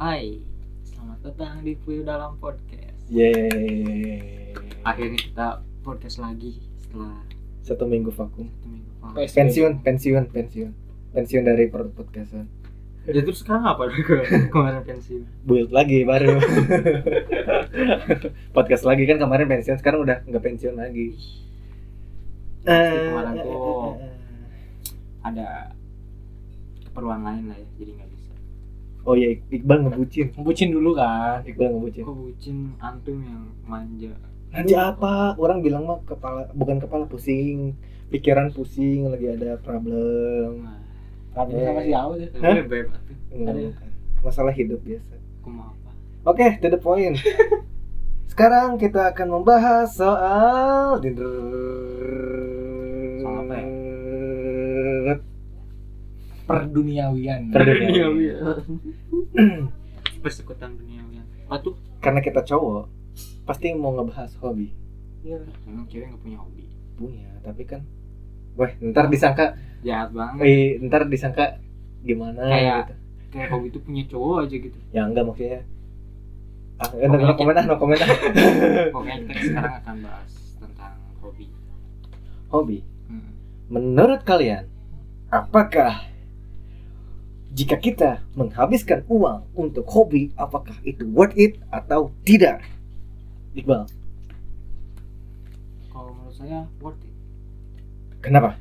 Hai, selamat datang di Puyuh Dalam Podcast. Iya. Yeay. Akhirnya kita podcast lagi setelah Satu minggu vakum. satu minggu paham. Pes- Pensiun, pensiun, pensiun. Pensiun dari per- podcastan. Ya terus sekarang apa Ke- kemarin pensiun? Build lagi baru. Podcast lagi kan kemarin pensiun, sekarang udah nggak pensiun lagi. Eh, Pasti kemarin tuh ada keperluan lain lah ya, jadi nggak bisa. Oh iya, Ik- Iqbal ngebucin. Ngebucin dulu kan. Iqbal ngebucin. Kok bucin antum yang manja? Nanti apa? Orang bilang mah kepala bukan kepala pusing, pikiran pusing lagi ada problem. Nah, Tapi Eh. sama si Awe deh. Hah? gue beb atuh. Enggak, bukan. Masalah hidup biasa. Aku mau apa? Oke, to the point. Sekarang kita akan membahas soal Soal apa ya? Perduniawian. Perduniawian. Persekutan dunia yang Patuh? Karena kita cowok, pasti mau ngebahas hobi. Iya. Emang cewek nggak punya hobi? Punya, tapi kan Wah, ntar disangka, Jahat banget. eh, ntar disangka gimana Hmm. Kayak- gitu. Kayak hobi itu punya cowok aja gitu. Ya enggak maksudnya. Ah, no, no comment ah, no comment ah. Pokoknya kita sekarang akan bahas tentang hobi. Hobi. Hmm. Menurut kalian, apakah jika kita menghabiskan uang untuk hobi, apakah itu worth it atau tidak? Iqbal, Kalau menurut saya worth it kenapa?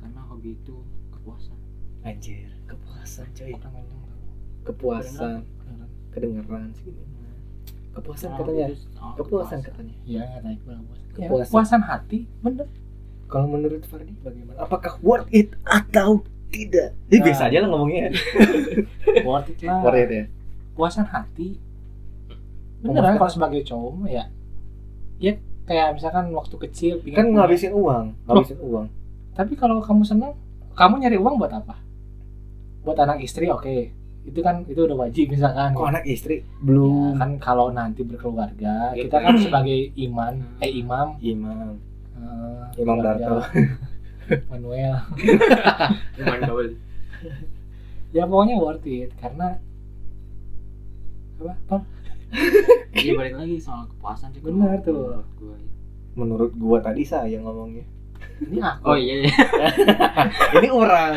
karena hobi itu kepuasan. Anjir, kepuasan coy. Orang ngomong tau. Kepuasan, Beneran. kedengeran segini. Kepuasan Karena katanya, hobi itu soal Nah, kepuasan katanya. oh, Iya, kata Iqbal puas. Ya, Kepuasan. kepuasan hati, bener. Kalau menurut Fardi bagaimana? Apakah worth it atau tidak? Ini Nah. biasa aja lah ngomongnya. Worth it lah. Worth it ya. Kepuasan hati. Memuaskan. Beneran kalau sebagai cowok mah ya. Ya kayak misalkan waktu kecil pingin Kan punya. ngabisin uang, ngabisin uang. Tapi kalau kamu senang, kamu nyari uang buat apa? Buat anak istri, oke. Itu kan itu udah wajib misalkan. Kok anak istri Ya, belum kan kalau nanti berkeluarga, Gitu. kita kan sebagai iman, eh imam, Iya, imam. eh, Imam keluarga Manuel. Cuman double. Ya pokoknya worth it karena apa? Tom? Jadi Iya, balik lagi soal kepuasan sih. Benar kalau tuh. menurut gua. Menurut gua tadi saya ngomongnya. Ini aku. Oh iya, iya. Ini orang.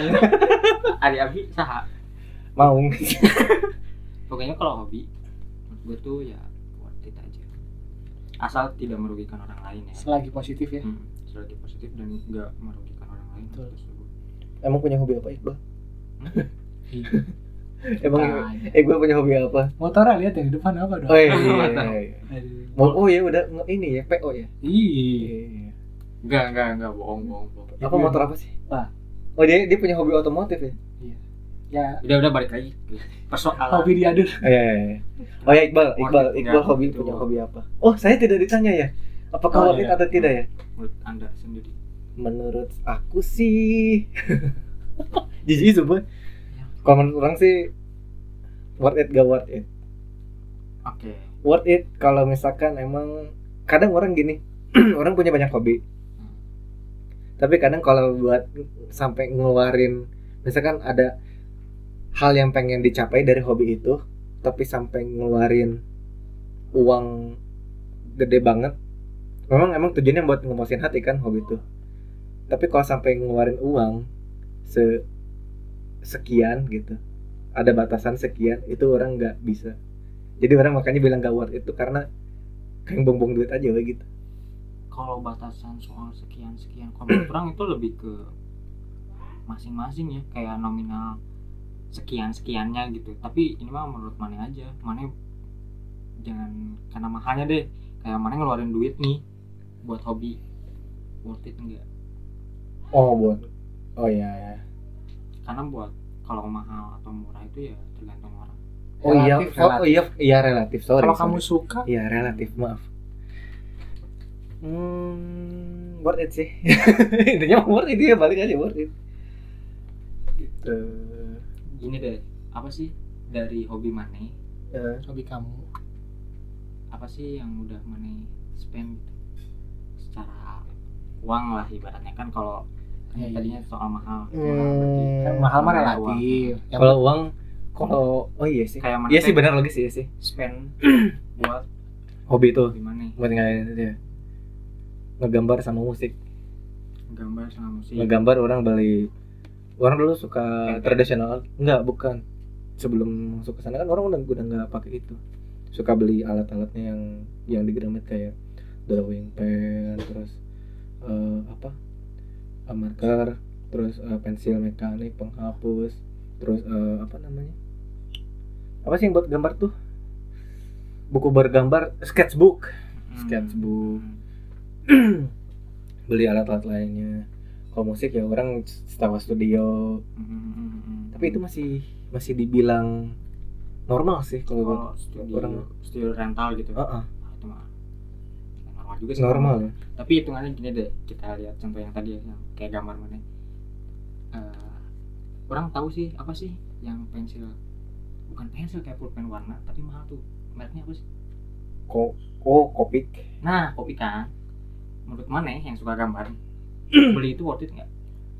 Ari Abi saha. Maung. Pokoknya kalau hobi menurut gua tuh ya worth it aja. Asal tidak merugikan orang lain ya. Selagi positif ya. Hmm. Selagi positif dan nggak merugikan orang lain. Betul. terus gua- Emang punya hobi apa Iqbal? Iya. Emang Tanya. Iqbal punya hobi apa? Motornya Nah, lihat yang di depan apa iya. dong? Oh iya, iya, iya. Aduh. Iya. Mau oh ya udah nge- ini ya PO ya. Ih. iya. Nggak, nggak, nggak bohong, bohong, bohong. Apa motor apa sih? Wah. Oh dia dia punya hobi otomotif ya? Ya Udah, udah balik lagi. Persoalan. Iya. hobi diadur. Oh iya, iya, iya. Oh ya Iqbal, Iqbal, Worth it Iqbal nggak? hobi Itu. punya gitu. hobi apa? Oh saya tidak ditanya ya. Oh, Apakah worth it iya. atau tidak ya? Menurut Anda sendiri. Menurut aku sih, jijik sumpah. Kalau menurut orang sih worth it gak worth it. Oke. worth it kalau misalkan emang kadang orang gini orang punya banyak hobi tapi kadang kalau buat sampai ngeluarin misalkan ada hal yang pengen dicapai dari hobi itu tapi sampai ngeluarin uang gede banget memang emang tujuannya buat ngemuasin hati kan hobi itu tapi kalau sampai ngeluarin uang se sekian gitu ada batasan sekian itu orang nggak bisa jadi orang makanya bilang gak worth itu karena kayak bongbong duit aja we gitu kalau batasan soal sekian sekian kalau menurut orang itu lebih ke masing-masing ya kayak nominal sekian sekiannya gitu tapi ini mah menurut mana aja mana jangan karena mahalnya deh kayak mana ngeluarin duit nih buat hobi worth it enggak oh buat oh ya karena buat kalau mahal atau murah itu ya tergantung orang oh iya Relatif, oh, relatif. iya iya relatif sorry Kalau kamu suka, sorry. iya relatif maaf hmm worth it sih intinya mah worth it ya balik aja worth it gitu gini deh apa sih dari hobi mana Eh, hobi kamu. apa sih yang udah money spend gitu? secara uang lah ibaratnya kan kalau Iya, yang iya. tadinya soal mahal gitu. Nah, Hmm. Kan mahal mah Mahal relatif. Yang kalau uang kalau oh iya sih kayak mana iya teh sih benar logis iya sih spend buat hobi itu gimana nih buat ngalahin itu ya. ngegambar sama musik gambar sama musik ngegambar orang beli orang dulu suka Tempe. tradisional enggak bukan sebelum masuk ke sana kan orang udah udah nggak pakai itu suka beli alat-alatnya yang yang digramit kayak drawing pen terus eh, apa eh, marker terus eh, pensil mekanik penghapus terus eh, apa namanya apa sih yang buat gambar tuh buku bergambar sketchbook Hmm. sketchbook. beli alat-alat lainnya kalau musik ya orang setawa studio Hmm, hmm, hmm, hmm. tapi itu masih masih dibilang normal sih kalau gua. kalau studio orang- studio rental gitu Heeh, Ah, itu mah normal juga sih normal ya tapi hitungannya gini deh kita lihat contoh yang tadi ya yang kayak gambar mana Eh, orang tahu sih apa sih yang pensil bukan pensil kayak pulpen warna tapi mahal tuh mereknya apa sih Ko oh kopik nah kopi kan menurut mana yang suka gambar beli itu worth it nggak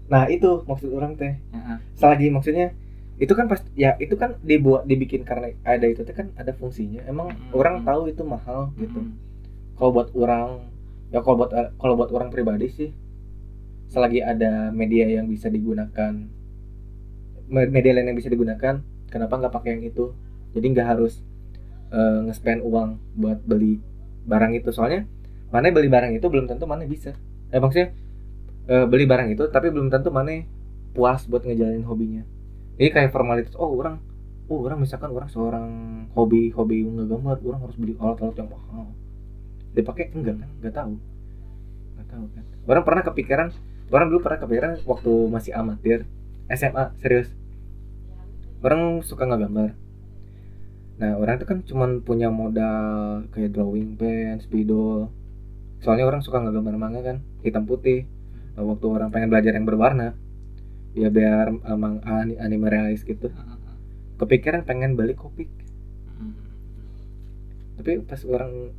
nah itu maksud orang teh Heeh. salah lagi maksudnya itu kan pas ya itu kan dibuat dibikin karena ada itu teh kan ada fungsinya emang Mm-mm. orang tahu itu mahal gitu Mm-mm. kalau buat orang ya kalau buat kalau buat orang pribadi sih selagi ada media yang bisa digunakan me- media lain yang bisa digunakan kenapa nggak pakai yang itu jadi nggak harus eh, nge-spend uang buat beli barang itu soalnya mana beli barang itu belum tentu mana bisa eh maksudnya eh, beli barang itu tapi belum tentu mana puas buat ngejalanin hobinya jadi kayak formalitas oh orang oh orang misalkan orang seorang hobi hobi ngegambar orang harus beli alat-alat yang mahal dipakai enggak kan enggak tahu enggak tahu kan orang pernah kepikiran orang dulu pernah kepikiran waktu masih amatir SMA serius orang suka ngegambar nah orang itu kan cuman punya modal kayak drawing pen spidol soalnya orang suka ngegambar manga kan hitam putih nah, waktu orang pengen belajar yang berwarna ya biar emang ani- anime realis gitu Heeh, heeh. kepikiran pengen beli kopi Hmm. tapi pas orang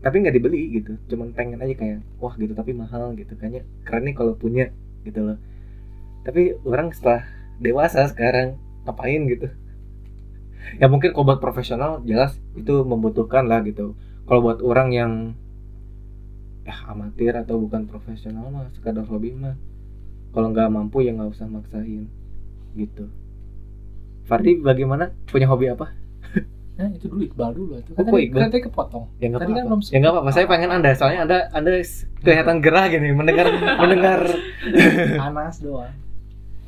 tapi nggak dibeli gitu cuman pengen aja kayak wah gitu tapi mahal gitu kayaknya keren nih kalau punya gitu loh tapi orang setelah dewasa sekarang ngapain gitu ya mungkin kalau buat profesional jelas itu membutuhkan lah gitu kalau buat orang yang eh, amatir atau bukan profesional mah sekadar hobi mah kalau nggak mampu ya nggak usah maksain gitu Fardi bagaimana punya hobi apa Nah, itu dulu Iqbal dulu itu. Oh, Kan kok tadi, Iqbal? kan tadi kepotong. Ya nggak Tadi kan apa-apa. belum ya nggak apa-apa. Saya pengen anda, soalnya anda anda s- kelihatan gerah gini mendengar mendengar Anas doang.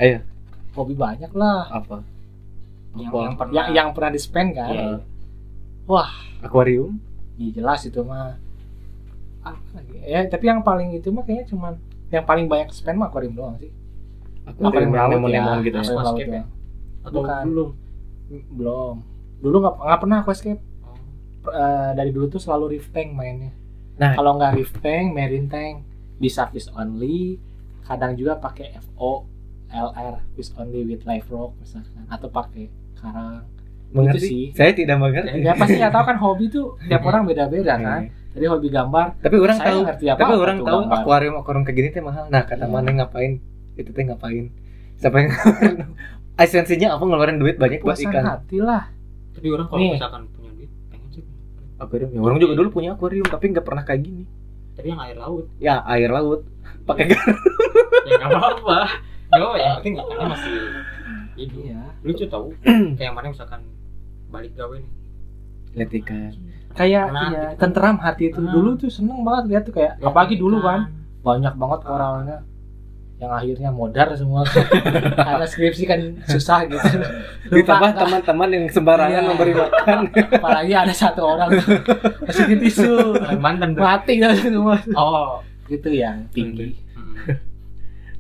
Ayo. Hobi banyak lah. apa? yang, Apa? yang pernah Yang yang pernah di spend kan? Iya. Akuarium? Iya jelas itu mah. Apa lagi? Ya, tapi yang paling itu mah kayaknya cuman yang paling banyak spend mah akuarium doang sih. Akuarium yang laut ya. lemon-lemon gitu. ya? Akuarium laut Aquascape ya? doang. atau bukan. Hmm, belum Belum. Dulu nggak nggak pernah aquascape. Oh. Per- eh, dari dulu tuh selalu reef tank mainnya. Nah. kalau nggak reef tank, marine tank, bisa fish only, kadang juga pakai FO, LR, fish only with live rock misalkan, atau pakai karang. Itu sih. Mengerti? Saya tidak mengerti. Ya pasti nggak tahu kan hobi tuh tiap orang beda-beda kan. Iya. Jadi hobi gambar, Tapi orang saya tahu, ngerti apa tapi orang tahu gambar. akuarium akuarium kayak gini teh mahal. Nah kata Iya. mana ngapain? Itu teh ngapain? Siapa yang esensinya apa ngeluarin duit banyak buat Puasan ikan? hati lah. jadi orang kalau Nih. misalkan punya duit pengen sih Akuarium. Ya, orang juga Iya. dulu punya akuarium tapi nggak pernah kayak gini. tapi yang air laut Ya air laut pakai gar- ya nggak apa-apa Yo, yang penting ikannya masih hidup Iya. lucu tau kayak mana misalkan balik gawe nih lihat ikan. Kayak Tenang, iya, gitu. tenteram hati itu. Hmm. Tenang. Dulu tuh seneng banget lihat tuh kayak apalagi dulu kan banyak banget koralnya yang akhirnya modar semua karena skripsi kan susah gitu Ditambah Lupa, teman-teman yang sembarangan Iya. memberi makan. apalagi ada satu orang kasih tisu Bukan mantan bro. mati kan semua oh gitu yang tinggi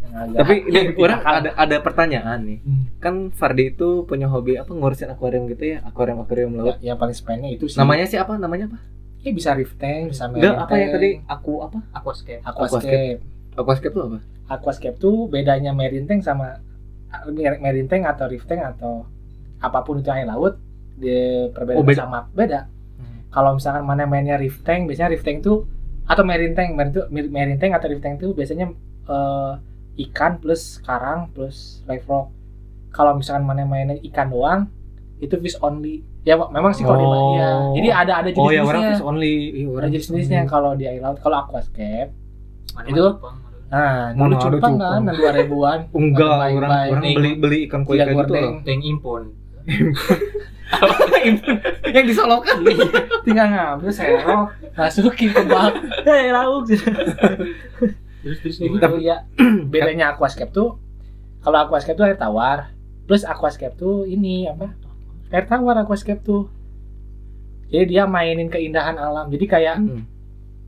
yang agak Tapi ini Yang orang dimakan. ada ada pertanyaan nih. Hmm. kan Fardi itu punya hobi apa ngurusin akuarium gitu ya akuarium akuarium laut Ya, ya yang paling spendnya itu sih namanya sih apa namanya apa ya bisa reef tank bisa marine enggak apa yang tank, tadi aku apa aquascape aquascape aquascape tuh apa aquascape tuh bedanya marine tank sama marine tank atau reef tank atau apapun itu air laut dia perbedaan Oh, beda. sama beda kalau misalkan mana mainnya Rift Tank, biasanya Rift Tank tuh atau Marine Tank, Marine, tuh- Mar- Marine Tank atau Rift Tank tuh biasanya eh, ikan plus karang plus live rock. Kalau misalkan mana mainnya ikan doang, itu fish only ya ma- memang sih kalau di Oh. iya. jadi ada ada oh ya orang jenis-jenisnya fish only Ih, ada jenis-jenisnya only. kalau di air laut kalau aquascape Mana Itu- mah Jepang, mana. nah Mana ada dulu cupang kan cupang. nah dua ribuan enggak Baik, orang baik. orang Nih. beli beli ikan koi Tidak kayak gitu gordeng. loh Tank impon. yang disolokan Iya. tinggal ngambil serok masukin ke bak eh lauk Terus terus gitu gimana? ya bedanya aquascape tuh kalau aquascape tuh air tawar plus aquascape tuh ini apa air tawar aquascape tuh jadi dia mainin keindahan alam jadi kayak Hmm.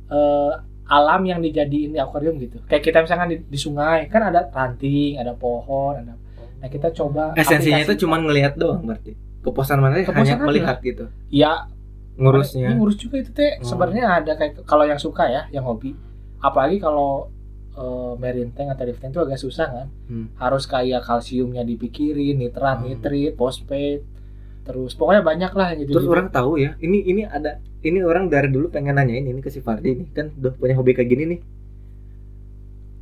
eh, alam yang dijadiin di akuarium gitu kayak kita misalkan di, di sungai kan ada ranting ada pohon ada nah kita coba esensinya aplikasi- itu cuma ngelihat doang berarti kepuasan mana hanya Kepuasan aja. melihat gitu ya Ini ngurusnya Iya, ngurus juga itu teh. Hmm. Sebenarnya ada kayak kalau yang suka ya, yang hobi. Apalagi kalau eh, marine tank atau dive tank itu agak susah kan. Hmm. Harus kayak kalsiumnya dipikirin, nitrat, Hmm. nitrit, fosfat. Terus pokoknya banyak lah yang gitu. terus orang tahu ya ini ini ada ini orang dari dulu pengen nanyain ini ke si Fardi nih kan udah punya hobi kayak gini nih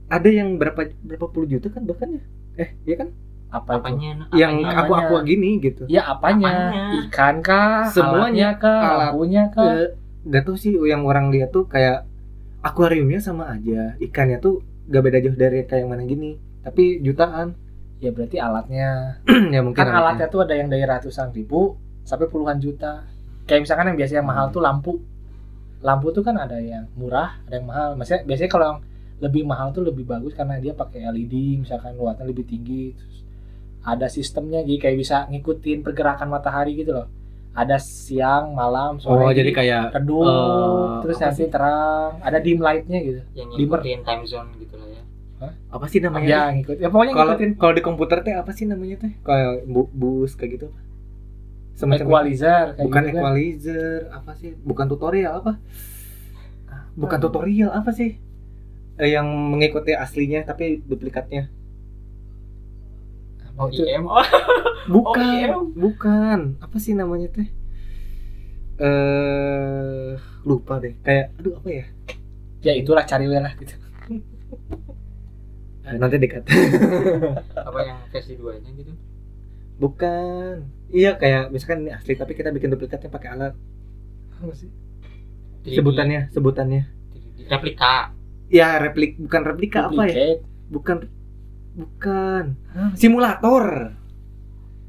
ada yang berapa berapa puluh juta kan bahkan ya eh iya kan apa itu? Apanya? apanya? yang Apanya? aku aku gini gitu Ya apanya? Apanya? Ikan kah? Semuanya. Alatnya kah? Alat. Lampunya kah? Eh, nggak tahu sih yang orang lihat tuh kayak akuariumnya sama aja ikannya tuh gak beda jauh dari kayak yang mana gini tapi jutaan Ya berarti alatnya. ya mungkin Kan alatnya. alatnya tuh ada yang dari ratusan ribu sampai puluhan juta. Kayak misalkan yang biasanya mahal tuh lampu. Lampu tuh kan ada yang murah, ada yang mahal. Maksudnya biasanya kalau yang lebih mahal tuh lebih bagus karena dia pakai LED, misalkan wattnya lebih tinggi. Terus ada sistemnya jadi kayak bisa ngikutin pergerakan matahari gitu loh. Ada siang, malam, sore. oh jadi kayak redup, eh, terus apa nanti terang, ada dim light-nya gitu. yang Dimer. ngikutin time zone gitu lah ya. apa sih namanya Ya, ngikut. Ya pokoknya kalau ngikutin kalau di komputer teh apa sih namanya teh kayak bu- bus kayak gitu apa? equalizer kayak bukan gitu kan. equalizer apa sih bukan tutorial apa bukan tutorial apa sih Eh, yang mengikuti aslinya tapi duplikatnya Apa Oh, itu? IM. Oh, bukan OEM. bukan apa sih namanya teh eh lupa deh kayak aduh apa ya Ya itulah cari lah gitu. Eh, nanti dekat apa yang versi 2-nya gitu. bukan iya kayak misalkan ini asli tapi kita bikin duplikatnya pakai alat 3D. sebutannya sebutannya 3D. replika. ya replik bukan replika apa ya Duplicate. bukan bukan Hah? simulator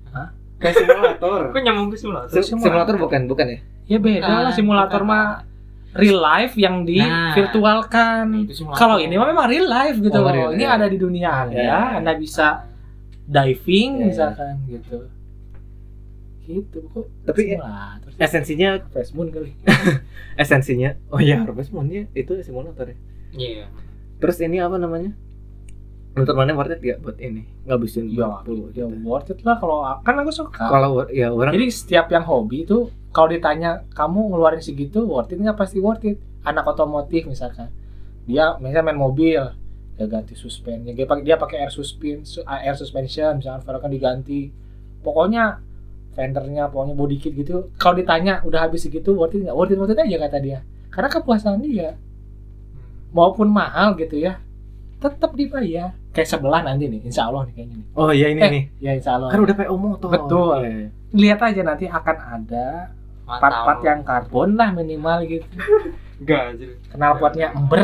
Hah? kayak simulator Kok nyambung ke simulator? Sim- simulator bukan bukan ya Ya beda lah simulator Bukan. mah kan real life yang di Nah. Nah, virtualkan. itu simulator. Kalau ini mah memang real life gitu Oh, loh. real ini life. ada di dunia Anda, Ya. Anda bisa diving Ya. misalkan gitu. Gitu kok. Tapi- eh, simulator sih? esensinya Fresh Moon kali. esensinya oh ya harvest moon itu simulator ya Iya. terus ini apa namanya menurut mana worth it gak buat ini ngabisin Ya, puluh ya juta worth it lah kalau kan aku suka. kalau wor- ya orang Jadi setiap yang hobi itu kalau ditanya kamu ngeluarin segitu worth it nggak pasti worth it. Anak otomotif misalkan dia misalnya main mobil dia ganti suspensi dia pakai dia pakai air suspin su- ah, air suspension misalkan velgnya diganti pokoknya fendernya pokoknya body kit gitu kalau ditanya udah habis segitu worth it nggak worth it worth it aja kata dia karena kepuasan dia Hmm. maupun mahal gitu ya tetap dibayar kayak sebelah nanti nih insya Allah nih kayaknya nih oh ya ini Eh. nih ya insya Allah kan udah PO motor Betul. Iya, iya. lihat aja nanti akan ada Mantap. part-part yang karbon lah minimal gitu enggak anjir. knalpotnya ember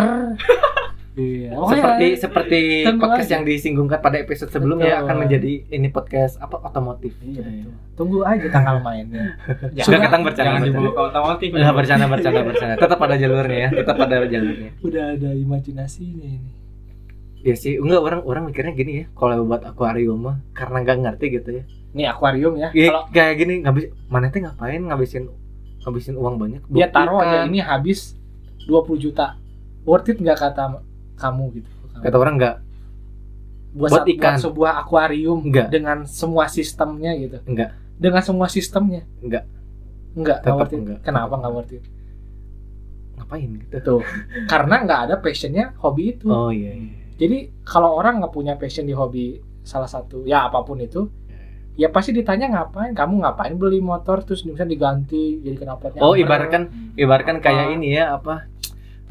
iya seperti seperti Tunggu podcast aja. yang disinggungkan pada episode sebelumnya Betul. akan menjadi ini podcast apa otomotif iya betul tunggu aja tanggal mainnya Sudah ketang bercanda, Jangan bercanda. dibawa ke otomotif. Nah, bercanda bercanda bercanda tetap pada jalurnya ya tetap pada jalurnya udah ada imajinasinya ini Iya sih, enggak orang orang mikirnya gini ya, kalau buat akuarium mah karena nggak ngerti gitu ya. ini akuarium ya Ya, kalau kayak gini ngabis mana teh ngapain ngabisin ngabisin uang banyak. dia Ya, taruh Bukan. aja ini habis 20 juta worth it nggak kata kamu gitu Kata orang nggak buat, buat sat- ikan. buat sebuah akuarium Nggak. dengan semua sistemnya gitu Nggak. dengan semua sistemnya Nggak. Nggak, nggak Tetap worth it. nggak. Kenapa Tetap nggak worth it? ngapain gitu. Tuh, karena nggak ada passionnya hobi itu. Oh iya. iya. Jadi kalau orang nggak punya passion di hobi salah satu ya apapun itu, Hmm. ya pasti ditanya ngapain, kamu ngapain beli motor terus bisa diganti jadi knalpotnya. Oh amber. ibaratkan Iya. ibaratkan Ya, Apa? kayak ini ya apa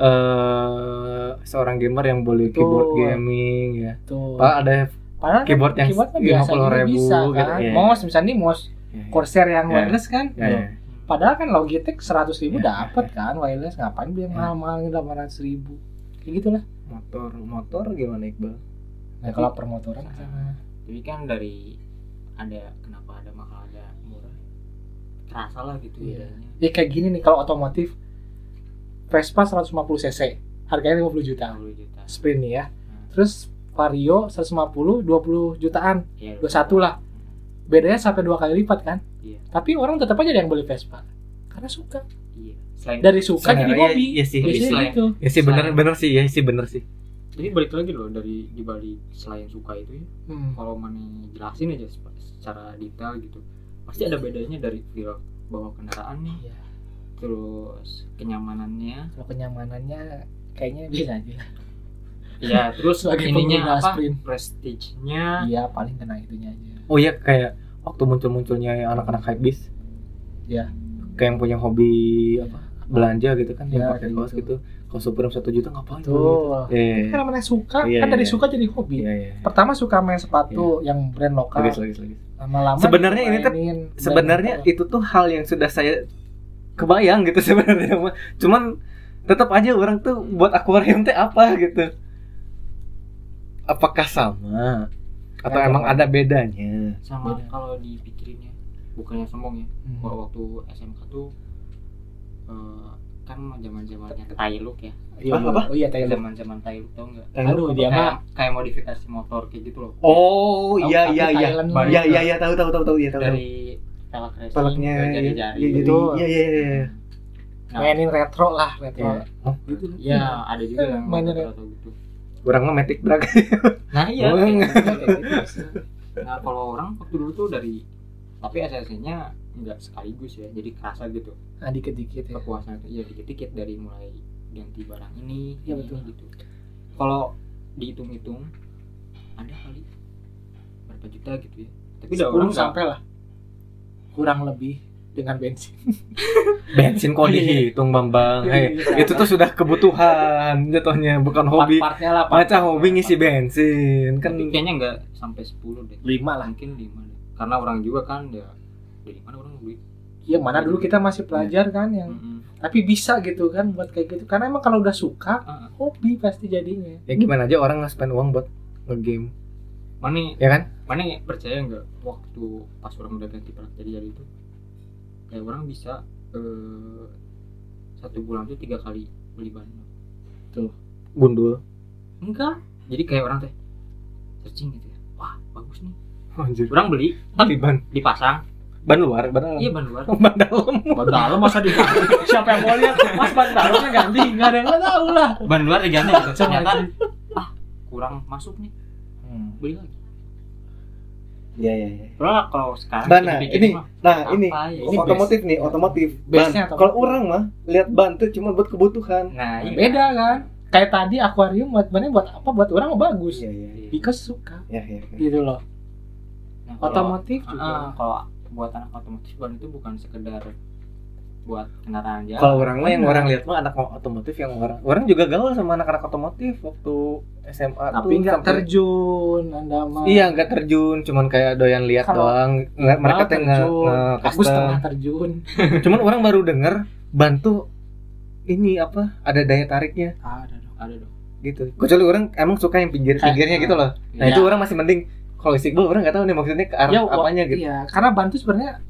eh seorang gamer yang boleh Betul. keyboard gaming ya. tuh. Pak ada Padahal kan keyboard yang keyboard mah 50.000 biasanya bisa gitu, kan. iya. Mouse misalnya nih mouse Ya, ya. Corsair yang Ya. wireless kan Ya, ya. padahal kan Logitech 100.000 ribu Ya. dapat kan wireless ngapain beli Ya. yang mahal-mahal delapan ratus ribu kayak gitulah Motor, motor gimana Iqbal? nah Tapi- kalau permotoran Sama. Jadi kan dari ada kenapa ada mahal ada murah. Terasa lah gitu Iya. bedanya. ya kayak gini nih kalau otomotif Vespa 150 cc harganya 50 juta 20 juta. sprint nih ya terus Vario 150 20 jutaan Ya, 21 lah bedanya sampai dua kali lipat kan Iya. tapi orang tetap aja ada yang beli Vespa karena suka Iya. Selain dari suka jadi Sebenarnya hobi iya sih. biasanya Selain- gitu Ya sih bener bener sih ya sih bener sih. Jadi balik lagi loh dari di Bali selain suka itu ya. Hmm. Kalau mana jelasin aja sep- secara detail gitu. Pasti ada bedanya dari vlog bawa kendaraan nih, Iya. terus kenyamanannya, kalau kenyamanannya kayaknya biasa aja ya terus Sebagai pengguna ininya apa? sprint. Prestige-nya. iya paling kena itunya aja Oh iya kayak waktu muncul-munculnya yang anak-anak hypebeast. Iya. Kayak yang punya hobi apa belanja gitu kan yang Ya, pakai kayak kaos gitu. gitu. Kaos Supreme 1 juta ngapain tuh gitu. Iya. karena mana suka Iya, kan dari iya. suka jadi hobi Iya iya. pertama suka main sepatu yang brand lokal Lagi lagi lagi. lama-lama Sebenarnya ini tuh- dimainin brand sebenarnya lokal. itu tuh hal yang sudah saya kebayang gitu sebenarnya mah. cuman tetap aja orang tuh buat akuarium teh apa gitu apakah sama atau Nggak emang sama. ada bedanya Sama Iya. Beda. kalau dipikirin ya, bukannya sombong ya. Hmm. Gua waktu SMK tuh eh, kan zaman zamannya Tailuk ya Iya, Apa, apa? oh iya Thailand zaman zaman Tailuk tau nggak aduh dia kayak, mah kayak modifikasi motor kayak gitu loh oh Tahu, iya tapi iya iya Thailand iya banget. iya iya tahu tahu tahu tahu iya tahu tahu. dari pelak racing peleknya ke iya iya jari-jari gitu. jadi- Betul. iya iya iya iya. nah, mainin retro lah retro Iya. Hah? gitu ya ada juga Eh, yang mainnya motor atau gitu orang mah metik drag nah iya Oh. kayak gitu. Kayak gitu sih. nah kalau orang waktu dulu tuh dari tapi esensinya nggak sekaligus ya jadi kerasa gitu nah dikit-dikit ya kepuasan itu ya dikit-dikit dari mulai ganti barang ini Iya, ini, betul. ini, gitu kalau dihitung-hitung ada kali berapa juta gitu ya tapi udah orang 10 nggak sampai lah kurang lebih dengan bensin bensin kok dihitung bambang hei itu tuh sudah kebutuhan jatuhnya bukan hobi part-partnya Nah, lah part macam hobi ngisi bensin kan tapi kayaknya nggak sampai 10 deh lima lah mungkin 5 deh karena orang juga kan ya dari mana orang beli ya mana dulu kita masih pelajar kan yang Mm-mm. tapi bisa gitu kan buat kayak gitu karena emang kalau udah suka Ah, ah. hobi pasti jadinya ya gimana aja orang nge-spend uang buat nge-game Mane, ya kan Mane percaya nggak waktu pas orang udah ganti perak jadi jari itu kayak orang bisa eh, satu bulan tuh tiga kali beli bahan gundul enggak jadi kayak orang teh searching gitu ya wah bagus nih anjir orang beli tapi ban dipasang ban luar ban dalam iya ban luar ban dalam ban dalam masa di Oh, siapa yang mau lihat mas ban dalamnya ganti nggak ada yang tahu lah ban luar diganti gitu ternyata ah kurang masuk nih Hmm. beli lagi iya iya iya Padahal kalau sekarang Ban, nah, dipikir ini mah, nah ini apa ya? Ini otomotif nih otomotif ban Base-nya otomotif. kalau orang mah lihat ban tuh cuma buat kebutuhan nah iya. beda kan kayak tadi akuarium buat mana buat apa buat orang mah bagus iya because suka iya iya gitu loh Nah, kalau- otomotif Ah, juga kalau buat anak otomotif ban itu bukan sekedar buat kendaraan jalan kalau orang mah yang Ya, Benar. orang lihat mah anak otomotif yang orang orang juga gaul sama anak-anak otomotif waktu SMA tapi tuh nggak sampai- terjun anda mah Iya nggak terjun, cuman kayak doyan lihat Kalau- doang. Nggak- mereka Malah tuh nge, terjun. nge aku custom. setengah terjun Cuman orang baru denger bantu ini apa ada daya tariknya. ada dong ada dong gitu kecuali orang emang suka yang pinggir-pinggirnya Eh, gitu loh nah Iya. itu orang masih mending kalau Istiqbal orang nggak tahu nih maksudnya ke arah Ya, wa- apanya gitu iya karena ban tuh sebenarnya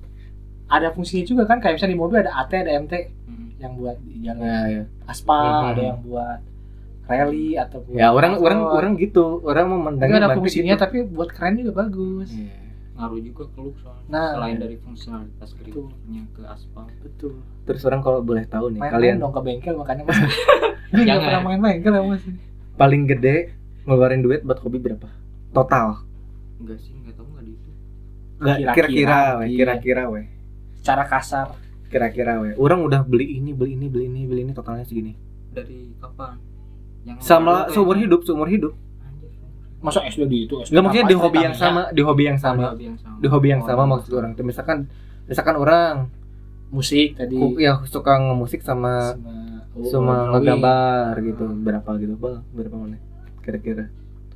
ada fungsinya juga kan kayak misalnya di mobil ada AT ada MT Mm. yang buat di jalan nah, ya. aspal Mhm. ada yang buat rally atau buat ya orang motor. orang orang gitu orang Itu memandangnya ada bantu fungsinya gitu. tapi buat keren juga bagus Iya. ngaruh juga ke look soalnya Nah. selain dari fungsionalitas gripnya ke aspal betul terus orang kalau boleh tahu nih main kalian kalian dong Iya, ke bengkel makanya mas ini nggak Jangan. pernah main bengkel ya mas paling gede ngeluarin duit buat hobi berapa total enggak sih enggak tahu enggak di itu Nggak, Kira-kira, kira-kira weh iya. kira-kira weh cara kasar kira-kira weh orang udah beli ini beli ini beli ini beli ini totalnya segini dari kapan yang baru sama tuh seumur yang- hidup seumur hidup Anjir, seumur hidup. masa gitu? SD di itu SD nggak maksudnya di ngapain hobi yang ceritanya? sama di hobi yang sama Ada hobi yang sama di hobi yang Oh, sama ada maksud orang tuh misalkan misalkan orang musik tadi Ku- ya suka ngemusik sama sama, Oh, sama drawing. ngegambar gitu berapa gitu bang berapa mana kira-kira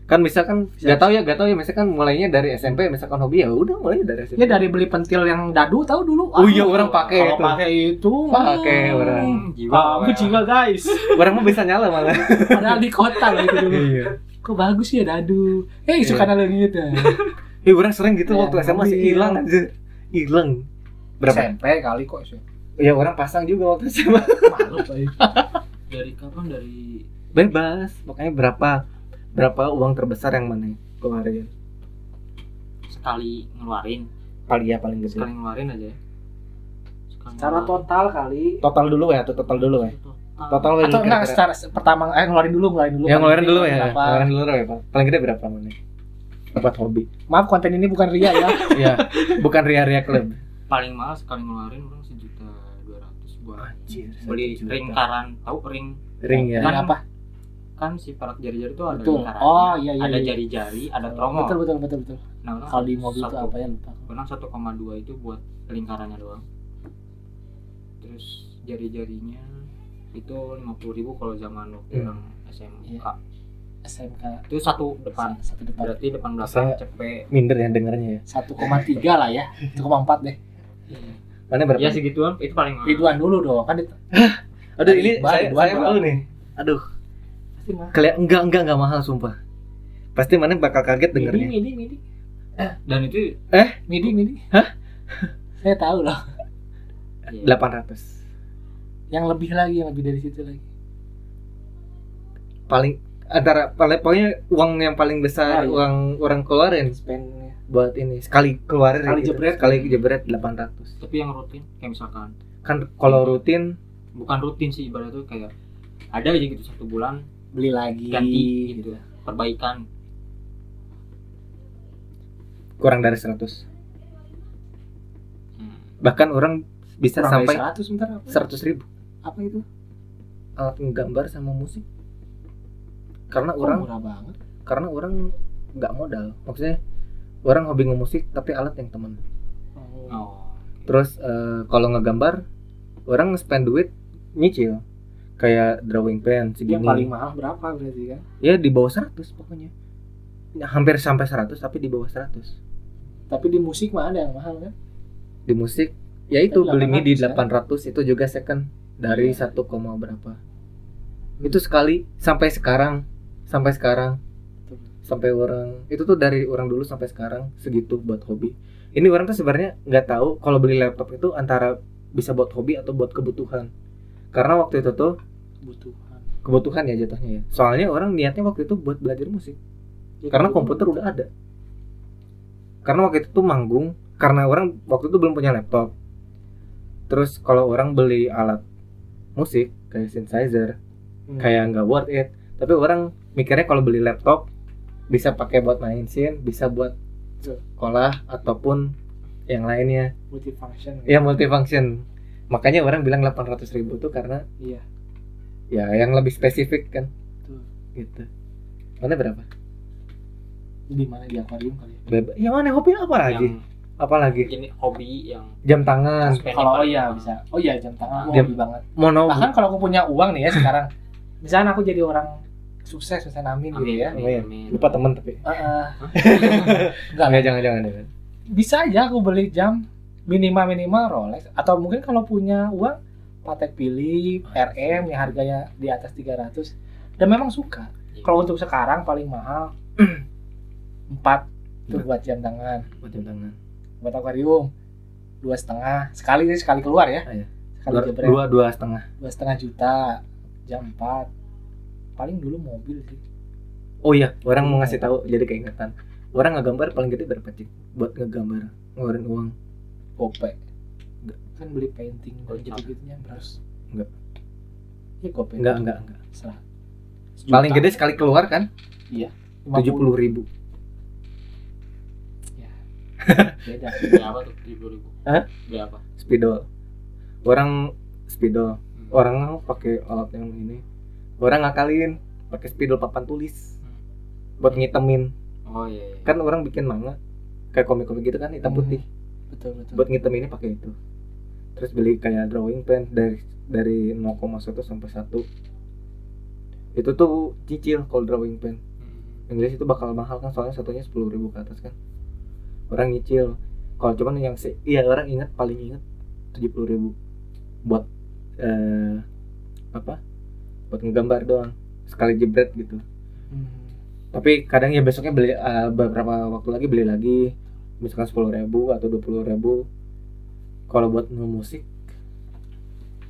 kan misalkan Bisa. nggak tahu ya nggak tahu ya misalkan mulainya dari SMP misalkan hobi ya udah mulainya dari SMP Ya dari beli pentil yang dadu tahu dulu. Oh iya, Aduh, orang pakai Kalau itu. pakai itu. Pakai hmm, orang. Jiwa, ah, Kamu ya. juga guys. orang mah bisa nyala malah Padahal di kota gitu dulu. iya Kok bagus ya dadu. Eh, Iya. suka yeah. gitu. Ih, orang sering gitu Iya, waktu SMA sih hobi. hilang aja hilang berapa Eh, SMP kali kok sih. ya orang pasang juga waktu SMA Malu ya? Pak. dari kapan dari bebas pokoknya berapa berapa uang terbesar yang mana kemarin sekali ngeluarin paling ya paling gede sekali ngeluarin aja ya Sekali Secara ngeluarin. total kali. total dulu ya atau total dulu ya total dulu Atau enggak kira-kira. secara se- pertama eh ngeluarin dulu, ngeluarin dulu. ya ngeluarin dulu ya Berapa? ngeluarin dulu ya Pak. paling gede berapa mana buat hobi Maaf konten ini bukan ria ya. ya bukan ria-ria klub paling mahal sekali ngeluarin orang sejuta dua ratus buat Anjir, satu beli juta. ringkaran tahu ring ring ya Dengan Kan- apa? kan si perak jari-jari itu ada Betul. lingkarannya, Oh, iya iya. ada iya. jari-jari ada tromol Betul betul betul betul. nah orang Kalau di mobil itu satu- apa ya lupa. orang 1,2 itu buat lingkarannya doang terus jari-jarinya itu 50.000 kalau zaman waktu Hmm. orang SMK Iya. SMK itu satu depan satu depan berarti depan belakang cepet minder yang dengarnya ya 1,3 lah ya 1,4 deh Hmm. mana berapa Iya ya segituan itu paling mahal Ridwan dulu dong kan di- aduh ini Iqbal, saya, Iqbal, saya Iqbal. malu nih aduh Kalian enggak enggak enggak mahal sumpah pasti mana bakal kaget midi dengernya midi midi dan itu midi midi saya tahu loh ya, 800 yang lebih lagi yang lebih dari situ lagi paling antara paling pokoknya uang yang paling Ah, besar iya. uang orang keluarin spendnya buat ini sekali keluarin Sekali gitu. jebret. sekali jebret 800 tapi yang rutin kayak misalkan kan kalau rutin bukan rutin sih ibarat tuh kayak ada aja gitu satu bulan beli lagi ganti gitu perbaikan kurang dari 100 Hmm. bahkan orang bisa Kurang sampai dari 100 bentar apa? ya? 100 ribu apa itu alat gambar sama musik karena Kok orang murah banget karena orang nggak modal maksudnya orang hobi ngemusik tapi alat yang teman oh. oh terus eh, kalau ngegambar orang spend duit nyicil kayak drawing pen yang segini paling mahal berapa berarti kan ya di bawah 100 pokoknya Ya, hampir sampai 100 tapi di bawah 100 tapi di musik mah ada yang mahal kan di musik ya itu Tapi ya. beli midi 800 800 itu juga second dari Iya. 1, koma berapa itu sekali sampai sekarang sampai sekarang Betul. sampai orang itu tuh dari orang dulu sampai sekarang segitu buat hobi ini orang tuh sebenarnya nggak tahu kalau beli laptop itu antara bisa buat hobi atau buat kebutuhan karena waktu itu tuh kebutuhan kebutuhan ya jatuhnya ya soalnya orang niatnya waktu itu buat belajar musik Ya, karena kebutuhan. komputer udah ada karena waktu itu tuh manggung karena orang waktu itu belum punya laptop terus kalau orang beli alat musik kayak synthesizer Hmm. kayak nggak worth it tapi orang mikirnya kalau beli laptop bisa pakai buat main scene bisa buat Iya. sekolah ataupun yang lainnya multifunction gitu. ya multifunction makanya orang bilang 800 ribu tuh karena iya ya yang lebih spesifik kan Betul. gitu mana berapa di mana di akuarium kali ya Beba- ya mana hobi apa lagi yang apa lagi ini hobi yang jam tangan spending kalau oh paling iya mahal. bisa oh iya jam tangan aku Jam- hobi banget mono bahkan kalau aku punya uang nih ya sekarang misalnya aku jadi orang sukses misalnya amin, gitu amin ya Amin. amin, amin. lupa temen tapi Eh, eh, enggak enggak jangan jangan jangan bisa aja aku beli jam minimal minimal Rolex atau mungkin kalau punya uang Patek Oh, Philippe iya. RM yang harganya di atas 300 dan memang suka Iya. kalau untuk sekarang paling mahal 4 Iya. tuh buat jam tangan buat jam tangan buat akuarium dua setengah sekali sekali keluar ya Ah, iya. sekali dua, jebret dua dua setengah dua setengah juta jam 4 paling dulu mobil sih oh iya orang mau ngasih tahu jadi keingetan orang ngegambar paling gede berapa sih buat ngegambar ngeluarin uang gope kan beli painting dan Gocap. gitu gitunya terus Enggak. ya gope enggak enggak enggak Serah. paling gede sekali keluar kan tujuh puluh ribu beda beli apa tuh tujuh puluh ribu Hah? beli apa spidol orang spidol Hmm. orang pakai alat yang ini orang ngakalin pakai spidol papan tulis buat ngitemin oh iya, iya. kan orang bikin manga kayak komik-komik gitu kan hitam Hmm. putih betul betul buat ngitem ini pakai itu terus beli kayak drawing pen dari dari 0,1 sampai 1 itu tuh cicil kalau drawing pen Hmm. Inggris itu bakal mahal kan soalnya satunya sepuluh ribu ke atas kan orang nyicil kalau cuman yang se iya orang ingat paling ingat tujuh puluh ribu buat eh, apa buat ngegambar doang sekali jebret gitu Hmm. tapi kadang ya besoknya beli eh, beberapa waktu lagi beli lagi misalkan sepuluh ribu atau dua puluh ribu kalau buat musik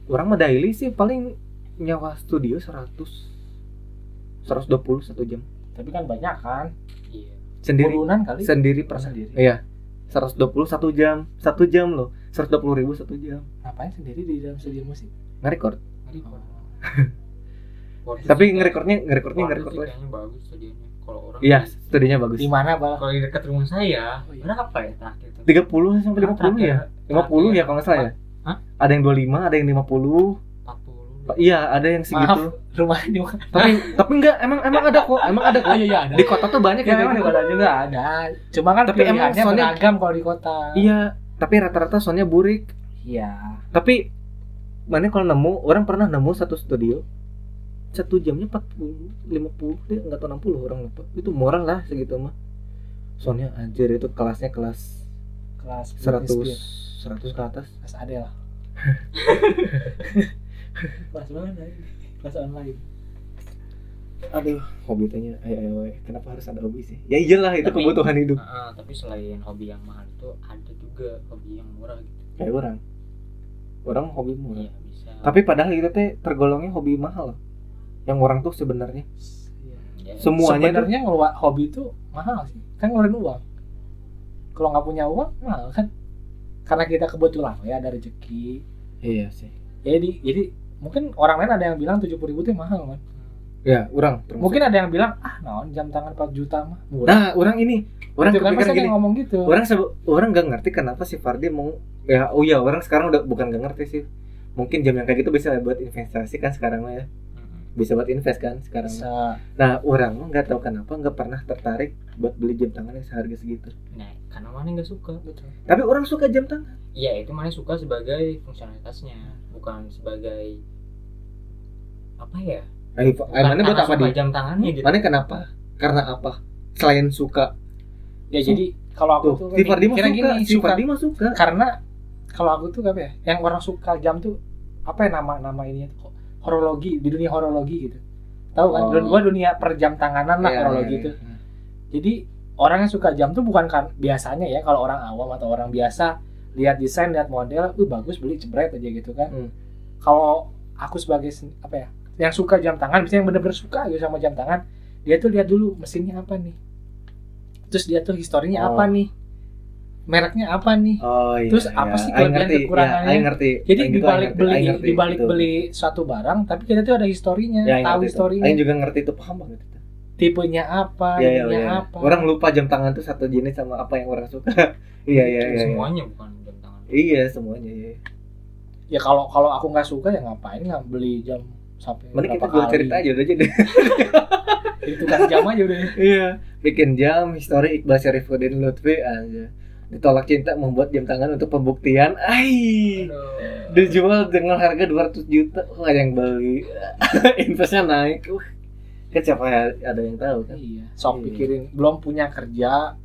orang mah daily sih paling nyawa studio 100 120 satu jam tapi kan banyak kan iya sendiri burunan kali sendiri Oh, persen sendiri Eh. 120 satu jam satu jam loh 120 ribu satu jam ngapain sendiri di dalam studio musik ngerekord Ngeri, Pak. Oh. Waduh, tapi sih, ngerekordnya ngerekordnya waduh ngerekord sih, lagi. kayaknya bagus studionya kalau orang iya di- studinya bagus di mana bal kalau di dekat rumah saya Oh, iya. berapa ya terakhir tuh? 30 sampai 50 ya 50 ya kalau nggak salah ya iya. Hah? ada yang 25 ada yang 50 empat puluh iya ada yang segitu rumah di mana tapi tapi enggak emang emang ada kok emang ada kok oh iya iya ada di kota tuh banyak ya yang kayak memang di gitu. kota juga ada cuma kan Tapi tapi emang pilihannya soalnya- beragam kalau di kota Iya, tapi rata-rata soundnya burik. iya Tapi mana kalau nemu, orang pernah nemu satu studio satu jamnya 40, 50, dia nggak tahu 60 orang lupa. Itu murah lah segitu mah. Soundnya anjir itu kelasnya kelas kelas 100 bisnis, 100 ke atas. kelas Adele kelas mana ini? kelas online Aduh, hobi tanya, ayo, ayo, ayo. kenapa harus ada hobi sih? Ya iyalah itu Tapi- kebutuhan hidup. tapi selain hobi yang mahal itu ada juga hobi yang murah gitu Kayak orang. Orang hobi murah. Iya, bisa Tapi padahal itu teh tergolongnya hobi mahal. Yang orang tuh sebenarnya Iya. Ya, semuanya tuh- sebenarnya ngeluar hobi itu mahal sih kan ngeluarin uang kalau nggak punya uang mahal kan karena kita kebetulan ya ada rezeki Iya sih. jadi jadi mungkin orang lain ada yang bilang tujuh puluh ribu itu mahal kan Ya, orang termasuk. mungkin ada yang bilang ah naon jam tangan 4 juta mah murah Nah, orang ini, orang Gitu kan kepikiran pasti ada gini. yang ngomong gitu Orang sebe- orang gak ngerti kenapa si Fardi mau ya oh iya orang sekarang udah bukan gak ngerti sih. Mungkin jam yang kayak gitu bisa buat investasi kan sekarang mah ya. Mm-mm. Bisa buat invest kan sekarang. mah. Bisa. Nah, orang mah nggak tahu kenapa nggak pernah tertarik buat beli jam tangan yang seharga segitu. nah karena mana nggak suka Tapi orang suka jam tangan. ya itu mana suka sebagai fungsionalitasnya bukan sebagai apa ya Ayo, Nah, Bukan mana Eh, buat karena suka apa di? jam tangannya gitu Mana Iya, kenapa? Karena apa? Selain suka. ya jadi kalau aku Tuh, tuh si Fardi mah mikirnya suka, si suka Fardi mah suka. karena kalau aku tuh apa ya yang orang suka jam tuh apa ya nama nama ini horologi di dunia horologi gitu tahu kan Oh. Dun- gua dunia per jam tanganan lah Iya, horologi iya, itu iya. jadi orang yang suka jam tuh bukan kan biasanya ya kalau orang awam atau orang biasa lihat desain lihat model uh bagus beli jebret aja gitu kan Hmm. kalau aku sebagai sen- apa ya yang suka jam tangan misalnya yang bener-bener suka gitu sama jam tangan dia tuh lihat dulu mesinnya apa nih terus dia tuh historinya Oh. apa nih mereknya apa nih Oh iya. Terus iya. apa sih Aing kelebihan ngerti, iya, kekurangannya? Aing ngerti. Jadi Aing gitu, dibalik Aing ngerti, beli, Aing ngerti, dibalik gitu. beli suatu barang, tapi kita tuh ada historinya, Ya, Aing tahu ngerti itu. historinya, Aing juga ngerti itu paham banget itu. tipenya apa, Iya, iya, ininya iya. apa. Orang lupa jam tangan tuh satu jenis sama apa yang orang suka. Iya, iya, Itu iya. iya. semuanya bukan jam tangan Iya, semuanya. Iya. Ya kalau kalau aku nggak suka ya ngapain nggak beli jam sampai Mending kita berapa jual kali. cerita aja udah jadi. Itu kan jam aja udah. Iya. Bikin jam history Iqbal Syarifuddin Lutfi aja. Ditolak cinta membuat jam tangan untuk pembuktian. Ai. Aduh. Dijual dengan harga 200 juta. Kok nggak ada yang beli? Investnya naik. Uh. Kan siapa ya- ada yang tahu kan? Iya. Sok Iya. pikirin belum punya kerja,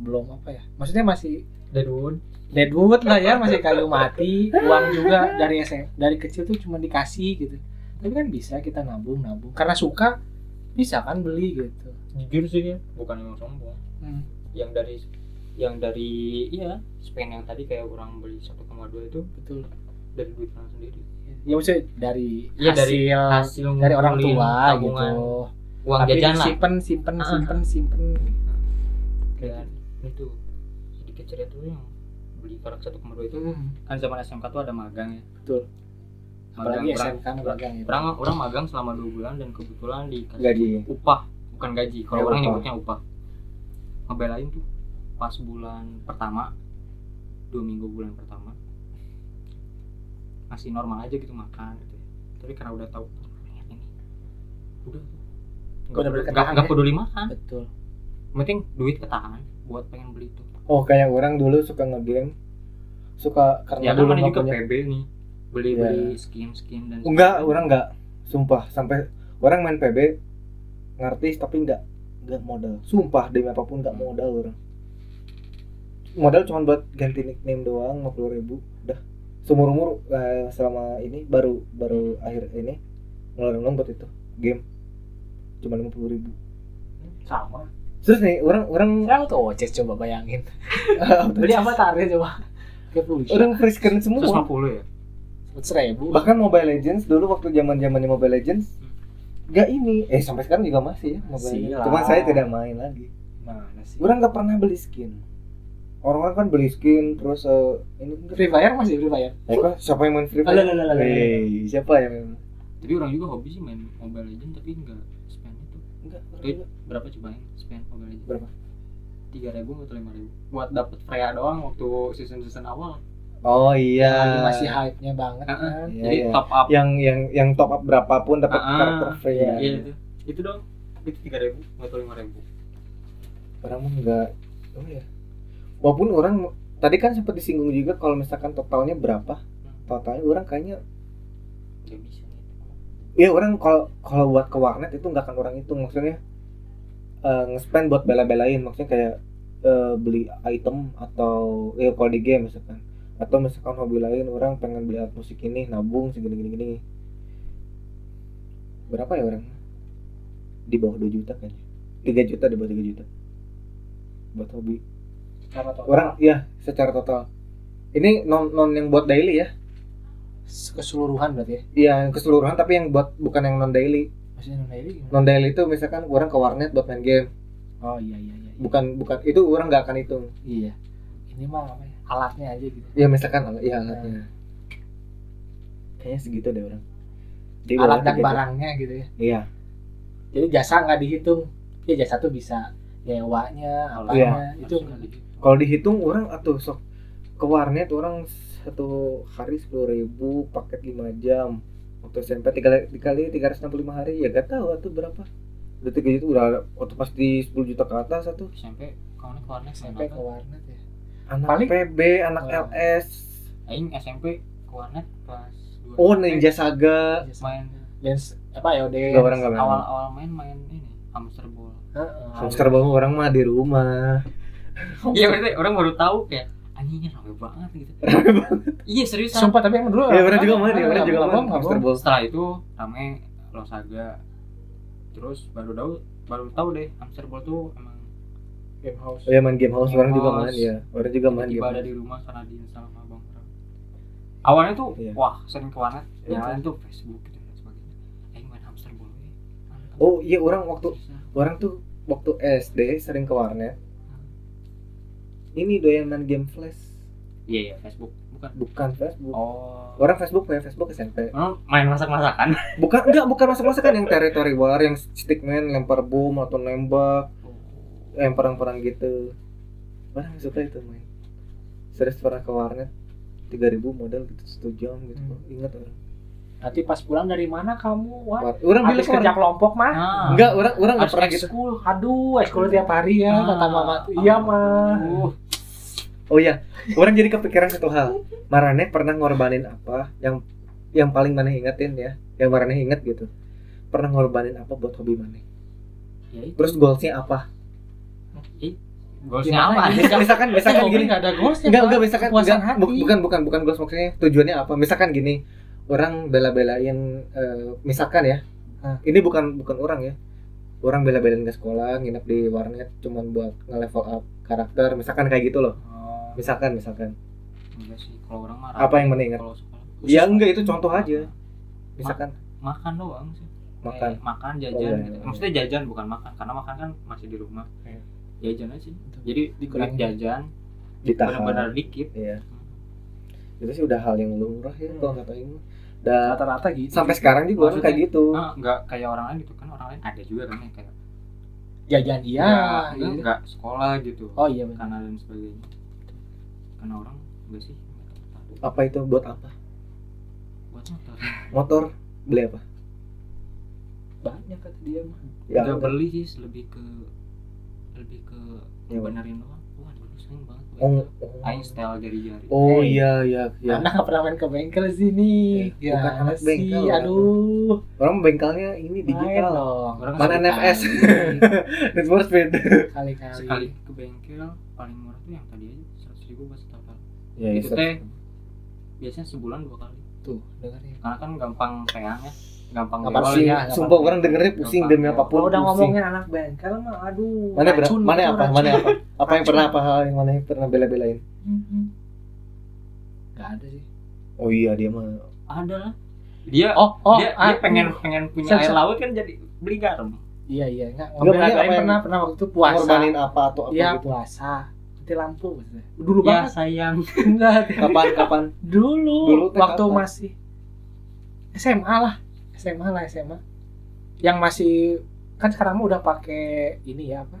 belum apa ya? Maksudnya masih Dadun. deadwood lah ya, masih kayu mati, uang juga dari SM, dari kecil tuh cuma dikasih gitu. Tapi kan bisa kita nabung nabung karena suka bisa kan beli gitu. jujur sih ya bukan emang sombong Hmm. yang dari yang dari iya spend yang tadi kayak orang beli 1,2 itu Betul. dari duit orang sendiri ya maksudnya dari Iya, dari hasil dari, hasil orang ngumpulin tua tabungan gitu uang jajan lah simpen simpen Ah. simpen simpen gitu. dan itu sedikit cerita tuh yang beli korak 1,2 itu kan zaman SMK tuh ada magang ya Betul. apalagi magang orang SMK mah magang ya orang, orang magang selama dua bulan dan kebetulan dikasih Gaji. upah bukan gaji Ya, kalau orang upah. nyebutnya upah ngebelain tuh pas bulan pertama dua minggu bulan pertama masih normal aja gitu makan gitu ya. tapi karena udah tahu "Ingat ini udah nggak Udah peduli, berketahan nggak- nggak ya? peduli makan betul Yang penting duit ketahan buat pengen beli itu Oh kayak orang dulu suka ngegame suka ya karena kan dulu mana nggak juga punya PB nih beli Ya. beli skin skin dan enggak orang enggak sumpah sampai orang main PB ngerti tapi enggak nggak modal sumpah demi apapun Hmm. nggak modal orang modal cuma buat ganti nickname doang 50.000 ribu udah seumur umur selama ini baru baru akhir ini ngeluarin uang buat itu game cuma 50.000 ribu sama terus nih orang orang sekarang tuh ojek coba bayangin beli avatar ya coba kayak puluh orang free screen semua 150 ya seribu bahkan Mobile Legends dulu waktu zaman zamannya Mobile Legends Hmm. nggak ini eh sampai sekarang juga masih ya Mobile Masih Legends. lah. cuma saya tidak main lagi mana sih orang nggak pernah beli skin orang-orang kan beli skin terus eh, ini free fire masih free fire Eh, kok siapa yang main free Alah, fire Iya. alah, alah, alah. Hei, siapa yang main tapi orang juga hobi sih main mobile legend tapi nggak spend itu enggak Tweet. berapa cobain spend mobile legend Berapa? tiga ribu atau lima ribu buat dapet Freya doang waktu season season awal oh iya Lagi masih hype nya banget Ah, kan Iya, jadi iya. top up yang yang yang top up berapapun dapat Ah, ah. karakter free ya. Iya, itu itu dong itu tiga ribu atau lima ribu orang mah enggak oh ya walaupun orang tadi kan sempat disinggung juga kalau misalkan totalnya berapa Hmm. totalnya orang kayaknya nggak bisa ya orang kalau kalau buat ke warnet itu nggak akan orang hitung maksudnya eh nge-spend buat bela-belain maksudnya kayak eh, beli item atau ya kalau di game misalkan atau misalkan hobi lain orang pengen beli alat musik ini nabung segini gini gini berapa ya orang di bawah 2 juta kayaknya 3 juta di bawah 3 juta buat hobi Berapa total? orang ya secara total ini non non yang buat daily ya keseluruhan berarti ya iya yang keseluruhan tapi yang buat bukan yang non daily maksudnya non daily gimana? non daily itu misalkan orang ke warnet buat main game oh iya iya iya iya. bukan bukan itu orang nggak akan hitung iya ini mah apa ya alatnya aja gitu ya misalkan ala- ya alatnya kayaknya segitu deh orang Jadi alat orang dan tiga barangnya gitu ya juta. iya jadi jasa nggak dihitung ya jasa tuh bisa nyewanya Nah, apanya Iya. itu nggak nggak di- kalau dihitung orang atau sok ke warnet orang satu hari sepuluh ribu paket lima jam waktu SMP tiga dikali tiga ratus enam puluh lima hari ya gak tahu atau berapa udah tiga juta udah waktu pasti sepuluh juta ke atas satu SMP kalau naik warnet sampai SMP ke warnet ya Iya. anak Paling- PB anak Wah. LS Aing SMP ke warnet pas dua oh SMP. Ninja Saga main dance apa ya udah Nggak, orang nggak main. awal-awal main main ini hamster ball hamster bawa orang mah di rumah iya berarti orang baru tahu kayak anjingnya rame banget gitu iya serius sumpah tapi emang dulu ya orang juga main ya orang nggak juga bohong, main nggak hamster bohong. ball setelah itu rame losaga terus baru tahu baru tahu deh hamster ball tuh emang game house Oh ya main game house, Game orang juga house. main ya. Orang juga main game. tiba ada house. di rumah karena diinstal sama abang orang awalnya tuh Iya. wah sering ke warnet Iya. yang lain tuh Facebook gitu dan sebagainya Aing main hamster ball we. Mantap. Oh iya orang waktu Bisa. orang tuh waktu SD sering ke warnet. Ini doyan main game flash, iya iya Facebook bukan bukan Facebook. oh Orang Facebook punya Facebook SMP. Orang main masak-masakan Bukan enggak bukan masak-masakan yang territory war, yang stickman lempar bom atau nembak, yang perang-perang gitu. Orang suka itu main. Serius pernah ke warnet 3000 modal gitu satu jam gitu. Hmm. Ingat orang. nanti pas pulang dari mana kamu wah War- Orang bilang ke habis kerja warnet. kelompok mah Ah. Enggak, orang orang enggak harus pernah gitu. ekskul aduh ekskul tiap hari ya Ah. Uh, kata mama tuh. iya mah Aduh. Oh iya, orang jadi kepikiran satu hal. Marane pernah ngorbanin apa yang yang paling Maneh ingetin ya, yang Marane inget gitu. Pernah ngorbanin apa buat hobi Maneh? ya itu Terus goalsnya apa? goalsnya Gimana apa ini? Misalkan misalkan, misalkan Hobi gini. nggak ada goalsnya Enggak, Pak. enggak misalkan Kepuasan enggak, hati. bu- bukan bukan bukan goals maksudnya. Tujuannya apa? Misalkan gini, orang bela-belain eh, misalkan ya. Hah. Ini bukan bukan orang ya. Orang bela-belain ke sekolah, nginep di warnet cuman buat nge-level up karakter, misalkan kayak gitu loh. Oh, Misalkan misalkan. enggak sih kalau orang marah Apa yang Maneh inget? kalau sekolah Ya enggak itu contoh aja. Misalkan makan doang sih makan. Kayak makan Oh, jajan iya, gitu. iya. maksudnya jajan bukan makan karena makan kan masih di rumah Iya. jajan aja sih jadi Dikurangin. dikurangi jajan ditahan benar-benar dikit iya itu sih udah hal yang lumrah ya Hmm. kalau kata ini dan rata-rata gitu sampai sekarang juga orang kayak gitu Ah, enggak kayak orang lain gitu kan orang lain ada juga kan yang kayak jajan Ya, iya enggak- gitu. enggak sekolah gitu oh iya benar karena dan sebagainya karena orang enggak sih apa itu buat apa buat motor motor beli apa banyak kata dia mah Ya, enggak beli sih lebih ke lebih ke nyewa. benerin doang wah dulu saya sering banget Iya. Oh, aing setel dari jari oh Hey. iya iya iya. Eh. Anak nggak pernah main ke bengkel sini. Eh, bukan anak sih, bengkel, orang. Aduh. Orang bengkelnya ini Main digital. dong. Orang kan Mana sekali- NFS? Need for Speed. Kali-kali. sekali ke bengkel paling murah tuh yang tadi aja seratus ribu pas setel kali Ya, iya, itu teh biasanya sebulan dua kali Tuh, dengerin. karena kan gampang peang ya gampang Nggak rewel pasti. Pusing, ya. nggak sumpah apa-apa. orang dengernya pusing Nggak demi apa-apa. apapun Kalau udah pusing. ngomongin anak bengkel mah aduh. Mana berat? racun, Mana itu apa? racun. Mana apa? Apa yang Racun. pernah apa hal yang mana yang pernah bela-belain? Mhm. Nggak ada sih. Oh iya dia mah. ada lah dia Oh, oh, dia, ah, dia pengen hmm. pengen punya Sel- air sel- laut kan jadi beli garam Iya, iya. Nggak, Nggak, ngambil maksudnya ada apa yang- pernah, pernah waktu itu puasa. Ngorbanin apa atau apa Iya, gitu. puasa. Mati lampu. maksudnya. Dulu ya Iya. banget. sayang Enggak, Kapan kapan? dulu, Dulu teh waktu kapan? masih SMA lah SMA lah SMA yang masih kan sekarang mah udah pakai ini ya apa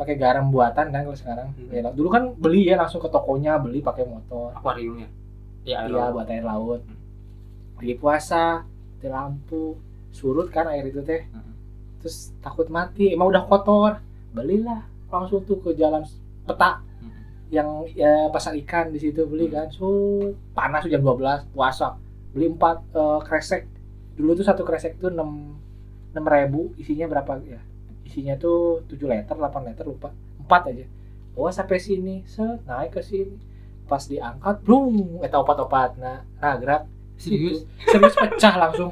pakai garam buatan kan kalau sekarang Hmm. Ya, dulu kan beli ya langsung ke tokonya beli pakai motor akuarium ya ya air iya laut. buat air laut Hmm. lagi puasa di lampu surut kan air itu teh Hmm. terus takut mati emang udah kotor belilah langsung tuh ke jalan peta Hmm. yang ya, pasar ikan di situ beli kan so panas tuh jam 12 puasa beli empat eh, kresek dulu tuh satu kresek tuh enam enam ribu isinya berapa ya isinya tuh 7 liter 8 liter lupa empat aja bawa sampai sini set naik ke sini pas diangkat belum eta opat opat nah nagrak serius Gitu. serius pecah langsung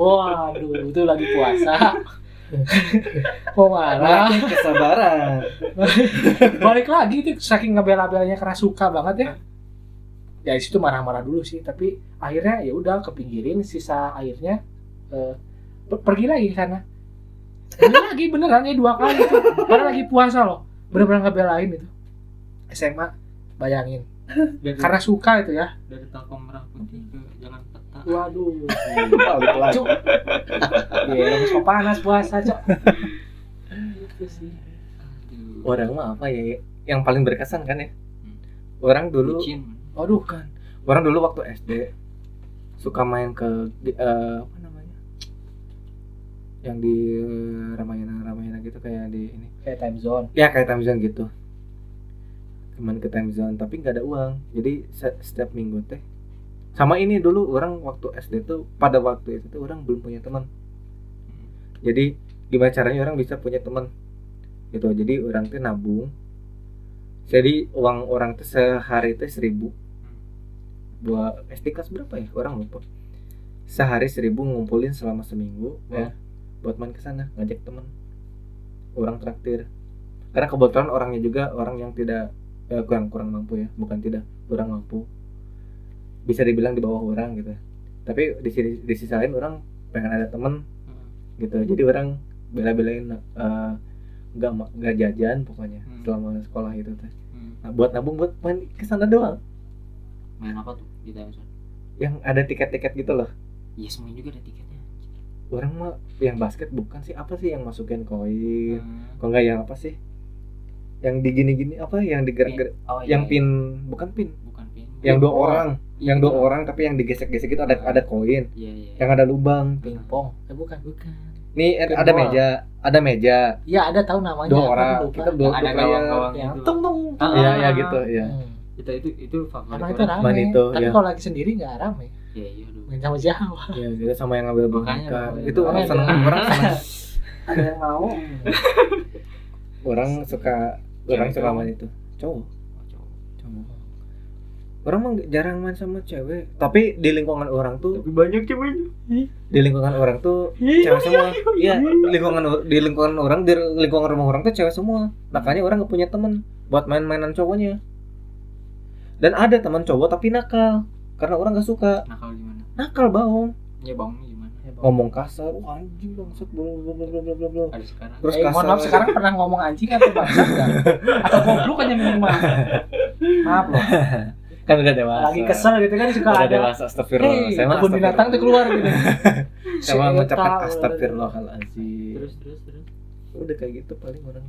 waduh itu lagi puasa mau marah Laki kesabaran. balik lagi itu saking ngebela-belanya karena suka banget ya ya di situ marah-marah dulu sih tapi akhirnya ya udah kepinggirin sisa airnya eh, per- pergi lagi ke sana pergi lagi beneran ya dua kali itu padahal lagi puasa loh bener-bener ngebelain itu SMA bayangin dari, karena suka itu ya dari telkom merah putih ke jalan peta waduh Iya, Balik lagi. cuk ya lemes kok panas puasa cuk Gitu sih. aduh Iya, Orang mah apa ya? Yang paling berkesan kan ya? Hmm. Orang dulu bucin waduh kan. Bukan. Orang dulu waktu SD suka main ke di- eh, apa namanya? Yang di Ramayana-Ramayana gitu kayak di ini. kayak time zone Ya kayak time zone gitu. Cuman ke time zone tapi nggak ada uang. Jadi se- setiap minggu teh sama ini dulu orang waktu SD tuh pada waktu itu tuh orang belum punya teman. Jadi gimana caranya orang bisa punya teman? Gitu. Jadi orang tuh nabung. Jadi uang orang tuh sehari tuh seribu dua SD kelas berapa ya orang lupa sehari seribu ngumpulin selama seminggu ya Wah. buat main ke sana ngajak temen orang traktir karena kebetulan orangnya juga orang yang tidak eh, kurang kurang mampu ya bukan tidak kurang mampu bisa dibilang di bawah orang gitu tapi di sisi di sisi lain orang pengen ada temen gitu jadi orang bela-belain eh, nggak ma- nggak jajan pokoknya Hmm. selama sekolah itu teh Hmm. nah, buat nabung buat main ke sana doang main apa tuh di time zone yang ada tiket-tiket gitu loh ya semuanya juga ada tiketnya orang mah yang basket bukan sih apa sih yang masukin koin Hmm. kok nggak yang apa sih yang digini-gini apa yang digerak oh, iya, yang iya. pin bukan pin bukan pin yang dua Oh. orang Iya, yang dua iya. orang tapi yang digesek-gesek itu ada ada koin iya iya yang ada lubang pingpong eh bukan bukan nih eh, Pinball. ada meja ada meja ya ada tahu namanya dua aku orang lupa. kita dua yang ada dua player gawang-gawang yang itu tung tung tung. Ah, Iya, ya gitu ya Hmm. itu itu itu favorit Emang itu orang. rame. Cuman itu, Tapi ya. kalau lagi sendiri nggak rame. iya iya aduh. Main sama siapa? ya kita sama yang ngambil Makanya boneka dong, itu orang makanya seneng dong. orang seneng Ada yang mau? orang suka orang Cewek suka doang. main itu cowok Oh, cowok. cowok orang mah jarang main sama cewek tapi di lingkungan orang tuh tapi banyak ceweknya di lingkungan orang tuh cewek semua iya lingkungan or- di lingkungan orang di lingkungan rumah orang tuh cewek semua makanya orang gak punya temen buat main-mainan cowoknya dan ada teman cowok tapi nakal karena orang gak suka nah kalau gimana nakal bohong ya bangunnya gimana ngomong kasar wah anjing bangsat bla bla bla bla bla bla bla ada sekarang terus eh, kasar mohon maaf sekarang pernah ngomong anjing atau bangsa? atau goblok aja minimal. Maaf loh. kan udah dewasa Lagi kesel gitu kan suka udah ada. dewasa astagfirullah Hei, saya mah kebun binatang tuh keluar gitu. saya mah Si mengucapkan Eta, astagfirullahaladzim terus terus terus udah kayak gitu paling orang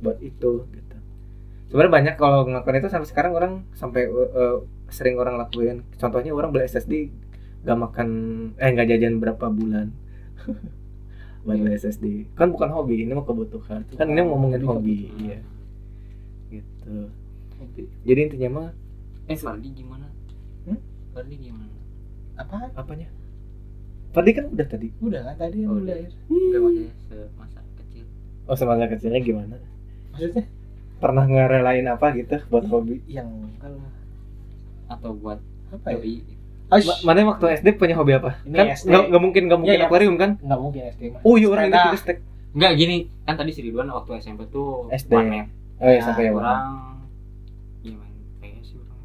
buat itu gitu sebenarnya banyak kalau ngelakuin itu sampai sekarang orang sampai uh, uh, sering orang lakuin contohnya orang beli SSD gak makan eh gak jajan berapa bulan buat beli SSD kan bukan hobi ini mah kebutuhan kan ini ngomongin hobi iya gitu Oke. jadi intinya mah Eh, Fardi gimana? Hmm? Fardi gimana? Apaan? apanya Tadi kan udah tadi Udah kan tadi Oh, yang udah iya. ya. udah. air. Enggak maksudnya semasa kecil. oh semasa kecilnya gimana Maksudnya? pernah ngerelain apa gitu buat hobi Yang enggak lah. Atau buat Apa ya? doi. Ash, Ma- mana waktu SD punya hobi apa Ini kan SD. nggak nggak mungkin nggak mungkin Iya, iya. akuarium kan nggak mungkin SD mah. oh iya orang ini Sepeda. punya stek Enggak gini, kan tadi si Ridwan waktu SMP tuh SD. warnet. oh iya Nah, sampai ya orang Orang iya main PS sih orang.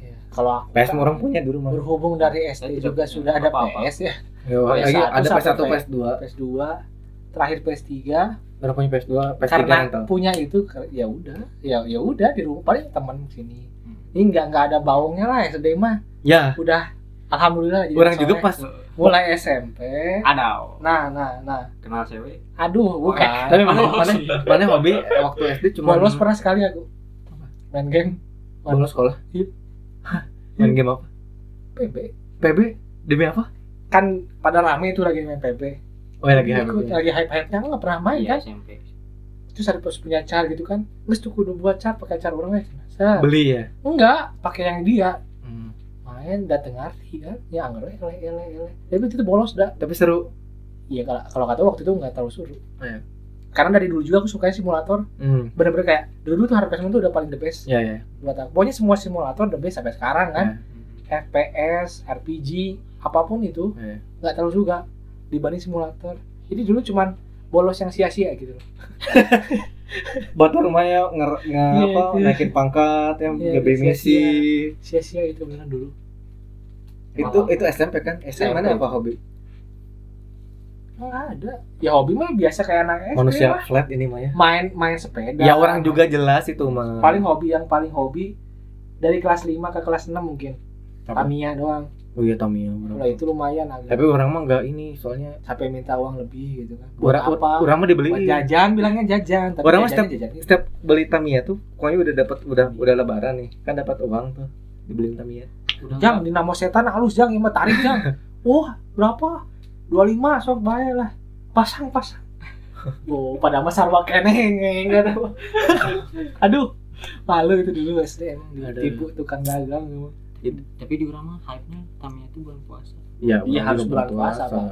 Iya. Kalau aku PS kan orang punya dulu mah berhubung dari SD tidak juga punya sudah ada apa-apa. PS ya. Ya, PS1 lagi ada sampai PS1 PS2. PS2 PS2, terakhir PS3 orang punya PS2 PS3 karena rental punya itu ke- ya udah ya ya udah di rumah paling teman sini Hmm. ini nggak nggak ada baungnya lah SD mah ya udah alhamdulillah jadi orang soleh. juga pas mulai SMP Ada nah nah nah kenal cewek. aduh bukan tapi mana mana mana hobi waktu SD cuma bolos pernah sekali aku main game bolos sekolah Iya. main game apa PB PB demi apa kan pada rame itu lagi main PB oh ya, lagi Ikut, hype lagi hype hype nya nggak pernah Ah, main Iya kan SMP. terus ada pas punya car gitu kan terus tuh kudu buat car pakai car orang ya beli ya enggak pakai yang dia Hmm. main dateng arti kan ya anggar ele ele ele tapi itu tuh bolos dah tapi seru iya kalau kalau kata waktu itu nggak terlalu suruh Iya. Oh, karena dari dulu juga aku sukanya simulator hmm. bener-bener kayak dulu tuh hard tuh udah paling the best ya ya buat aku pokoknya semua simulator the best sampai sekarang kan FPS RPG apapun itu Iya. nggak terlalu juga dibanding simulator jadi dulu cuman bolos yang sia-sia gitu loh buat rumahnya nger, nge- Iya, apa iya. naikin pangkat ya Iya, BB iya, misi sia-sia itu bener dulu itu itu SMP kan Iya, SMP mana apa hobi nggak ada ya hobi mah biasa kayak anak SD manusia lah. flat ini mah ya main main sepeda ya orang juga jelas itu mah paling hobi yang paling hobi dari kelas 5 ke kelas 6 mungkin Apa? Tamiya doang oh iya Tamiya kalau Nah, itu lumayan agak tapi orang mah nggak ini soalnya sampai minta uang lebih gitu kan buat orang apa orang mah dibeli buat jajan bilangnya jajan tapi Orang mah jajannya jajannya setiap beli Tamiya tuh pokoknya udah dapat udah udah lebaran nih kan dapat uang tuh dibeliin Tamiya Udah jang dinamo setan halus jang ini mah tarik jang wah berapa 25 sok bayar lah pasang pasang oh pada mah sarwa keneng enggak tahu aduh malu itu dulu SD emang Aduh. ditipu tukang dagang emang. tapi di orang mah hype-nya Tamiya itu bulan puasa. iya Iya, orang harus juga bulan puasa, Bang.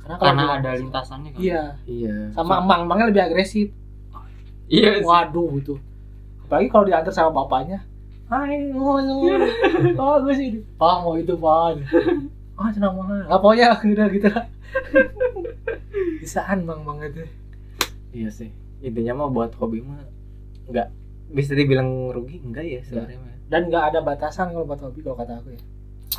kalau Karena di- ada lintasannya kan. iya iya sama emang-emangnya lebih agresif Iya. sih. Waduh itu. Apalagi kalau diantar sama bapaknya. Hai, oh, bagus ini. Pak mau itu pak. Ah tenang banget. Apa ya udah gitu lah. Bisaan bang banget ya. deh. iya sih intinya mah buat hobi mah nggak bisa dibilang rugi enggak ya Iya. sebenarnya mah. Dan nggak ada batasan kalau buat hobi kalau kata aku ya.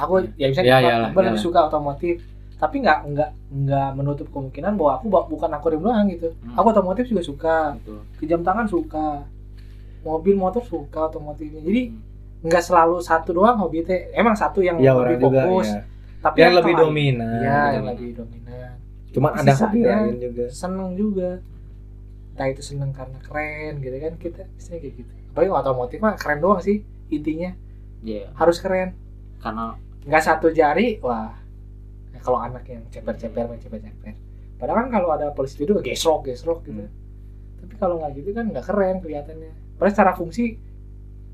Aku ya bisa Ya, ya, iyalah, lebih iyalah. suka otomotif. Tapi nggak nggak nggak menutup kemungkinan bahwa aku ba- bukan akuarium doang gitu. Hmm. Aku otomotif juga suka. Gitu. Kejam tangan suka. Mobil motor suka otomotifnya. Jadi Hmm. nggak selalu satu doang hobi teh emang satu yang ya orang lebih juga fokus ya. tapi yang lebih lain- dominan iya gitu yang kan. lebih dominan cuman ada Sisanya- hobi iya. lain juga seneng juga entah itu seneng karena keren gitu kan kita biasanya kayak gitu apalagi otomotif mah keren doang sih intinya Iya, harus keren karena nggak satu jari wah Nah, kalau anak yang ceper-ceper Hmm. main ceper-ceper padahal kan kalau ada polisi itu gesrok gesrok gitu Hmm. tapi kalau nggak gitu kan nggak keren kelihatannya padahal secara fungsi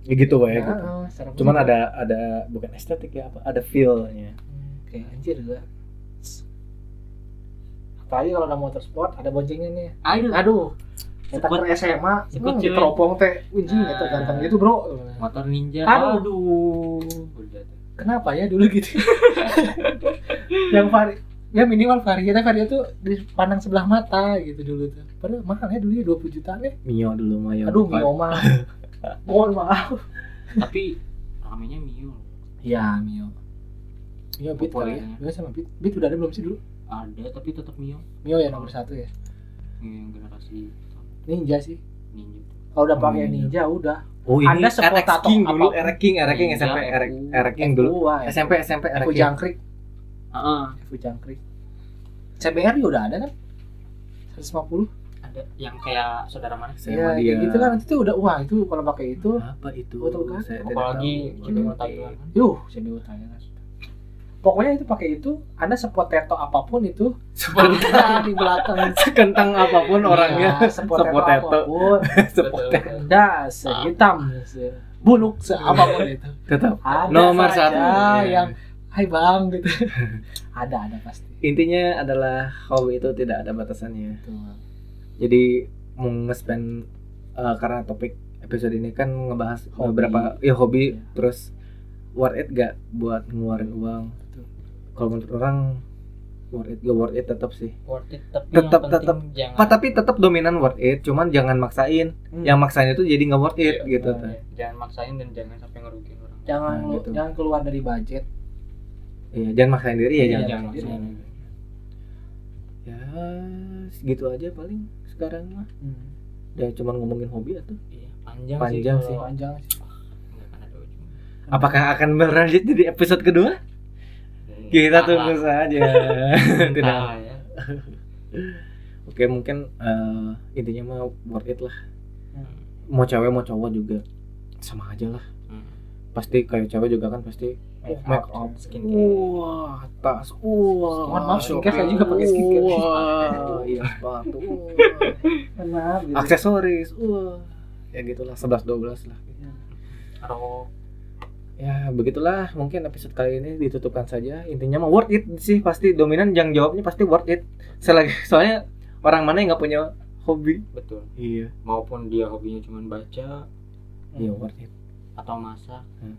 ya gitu ya nah, gitu. eh, secara fungsi cuman ada ada bukan estetik ya apa ada feelnya Hmm, Kayak anjir gua. Apalagi kalau ada motorsport, ada boncengnya nih. aduh Aduh. Kita Sebut- ke SMA, sebut hmm, cuy. diteropong teh, anjing Ah. Nah. eta ganteng gitu, Bro. motor ninja. Ah. Aduh. Udah tuh. Kenapa ya dulu gitu? Yang vari ya minimal variannya varian tuh dipandang sebelah mata gitu dulu tuh. Padahal mahal ya dulu ya 20 jutaan ya. mio dulu mah ya Aduh, Mio mah. Mohon maaf. Tapi ramenya Mio. Ya, Mio. Mio Beat kali ya. Populernya. Mio sama Beat. Beat udah ada belum sih dulu? Ada tapi tetap Mio. Iya, Mio ya nomor satu ya. Yang generasi Ninja sih. ninja. Kalau udah pakai Hmm. ninja udah oh ini Anda Anda RX sepotato King dulu apapun. RX King RX King Iya, SMP F U. RX King dulu F2 ya. SMP SMP F RX King jangkrik, Heeh. F jangkrik. CBR juga udah ada kan? 150. Ada yang kayak saudara mana? Sama ya, dia. kayak gitu kan itu udah wah itu kalau pakai itu, apa itu Betul kan? Saya tidak Apalagi tahu. Jimmy Taiwan. yuh jadi utanya kan. pokoknya itu pakai itu anda sepoteto apapun itu Seperti ada di belakang sekentang apapun orangnya Iya, sepoteto, sepoteto. apapun sepotet anda sehitam se buluk se apapun itu tetap Iya. ada nomor saja satu Iya. yang hai bang gitu ada ada pasti intinya adalah hobi itu tidak ada batasannya Betul. jadi mau nge-spend uh, karena topik episode ini kan ngebahas Hobi. beberapa ya hobi Iya. terus worth it gak buat ngeluarin uang Betul. kalau menurut orang worth it gak worth it tetap sih worth it tapi Tetap, yang penting tetap. jangan Pa, tapi tetap dominan worth it cuman jangan maksain yang maksain itu jadi nggak worth it Iya. gitu Nah, tuh. iya. jangan maksain dan jangan sampai ngerugiin orang jangan Nah, lu- gitu. jangan keluar dari budget Iya, jangan maksain diri ya Iya, jangan. jangan jadi- maksain. Ya, segitu aja paling sekarang mah. Hmm. Udah cuman ngomongin hobi atau Iya, panjang, Panjang sih, sih. kalau- panjang sih nggak akan ada ujung. apakah akan berlanjut di episode kedua? Iya. Iya, Kita Entahlah, tunggu saja. Tidak. entahlah ya. Oke, mungkin eh, intinya mah worth it lah. Hmm. Mau cewek mau cowok juga sama aja lah. Hmm. Pasti kayak cewek juga kan pasti Eh, make up skincare iya. wah tas wah Mohon maaf, skincare saya juga pakai skincare. wah iya sepatu wah. Kenapa? gitu. aksesoris wah ya gitulah 11 12 lah rok ya begitulah mungkin episode kali ini ditutupkan saja intinya mah worth it sih pasti dominan yang jawabnya pasti worth it Selagi, soalnya orang mana yang nggak punya hobi betul iya maupun dia hobinya cuma baca iya worth it atau masak Hmm.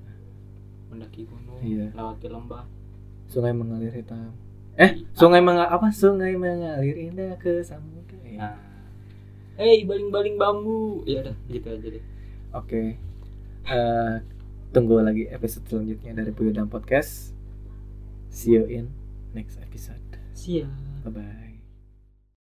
mendaki gunung Iya. lewati lembah sungai mengalir hitam eh sungai mengalir apa sungai mengalir indah ke samudra ya. nah eh baling-baling bambu ya udah gitu aja deh oke Eh, tunggu lagi episode selanjutnya dari Puyudam Podcast see you in next episode siap bye bye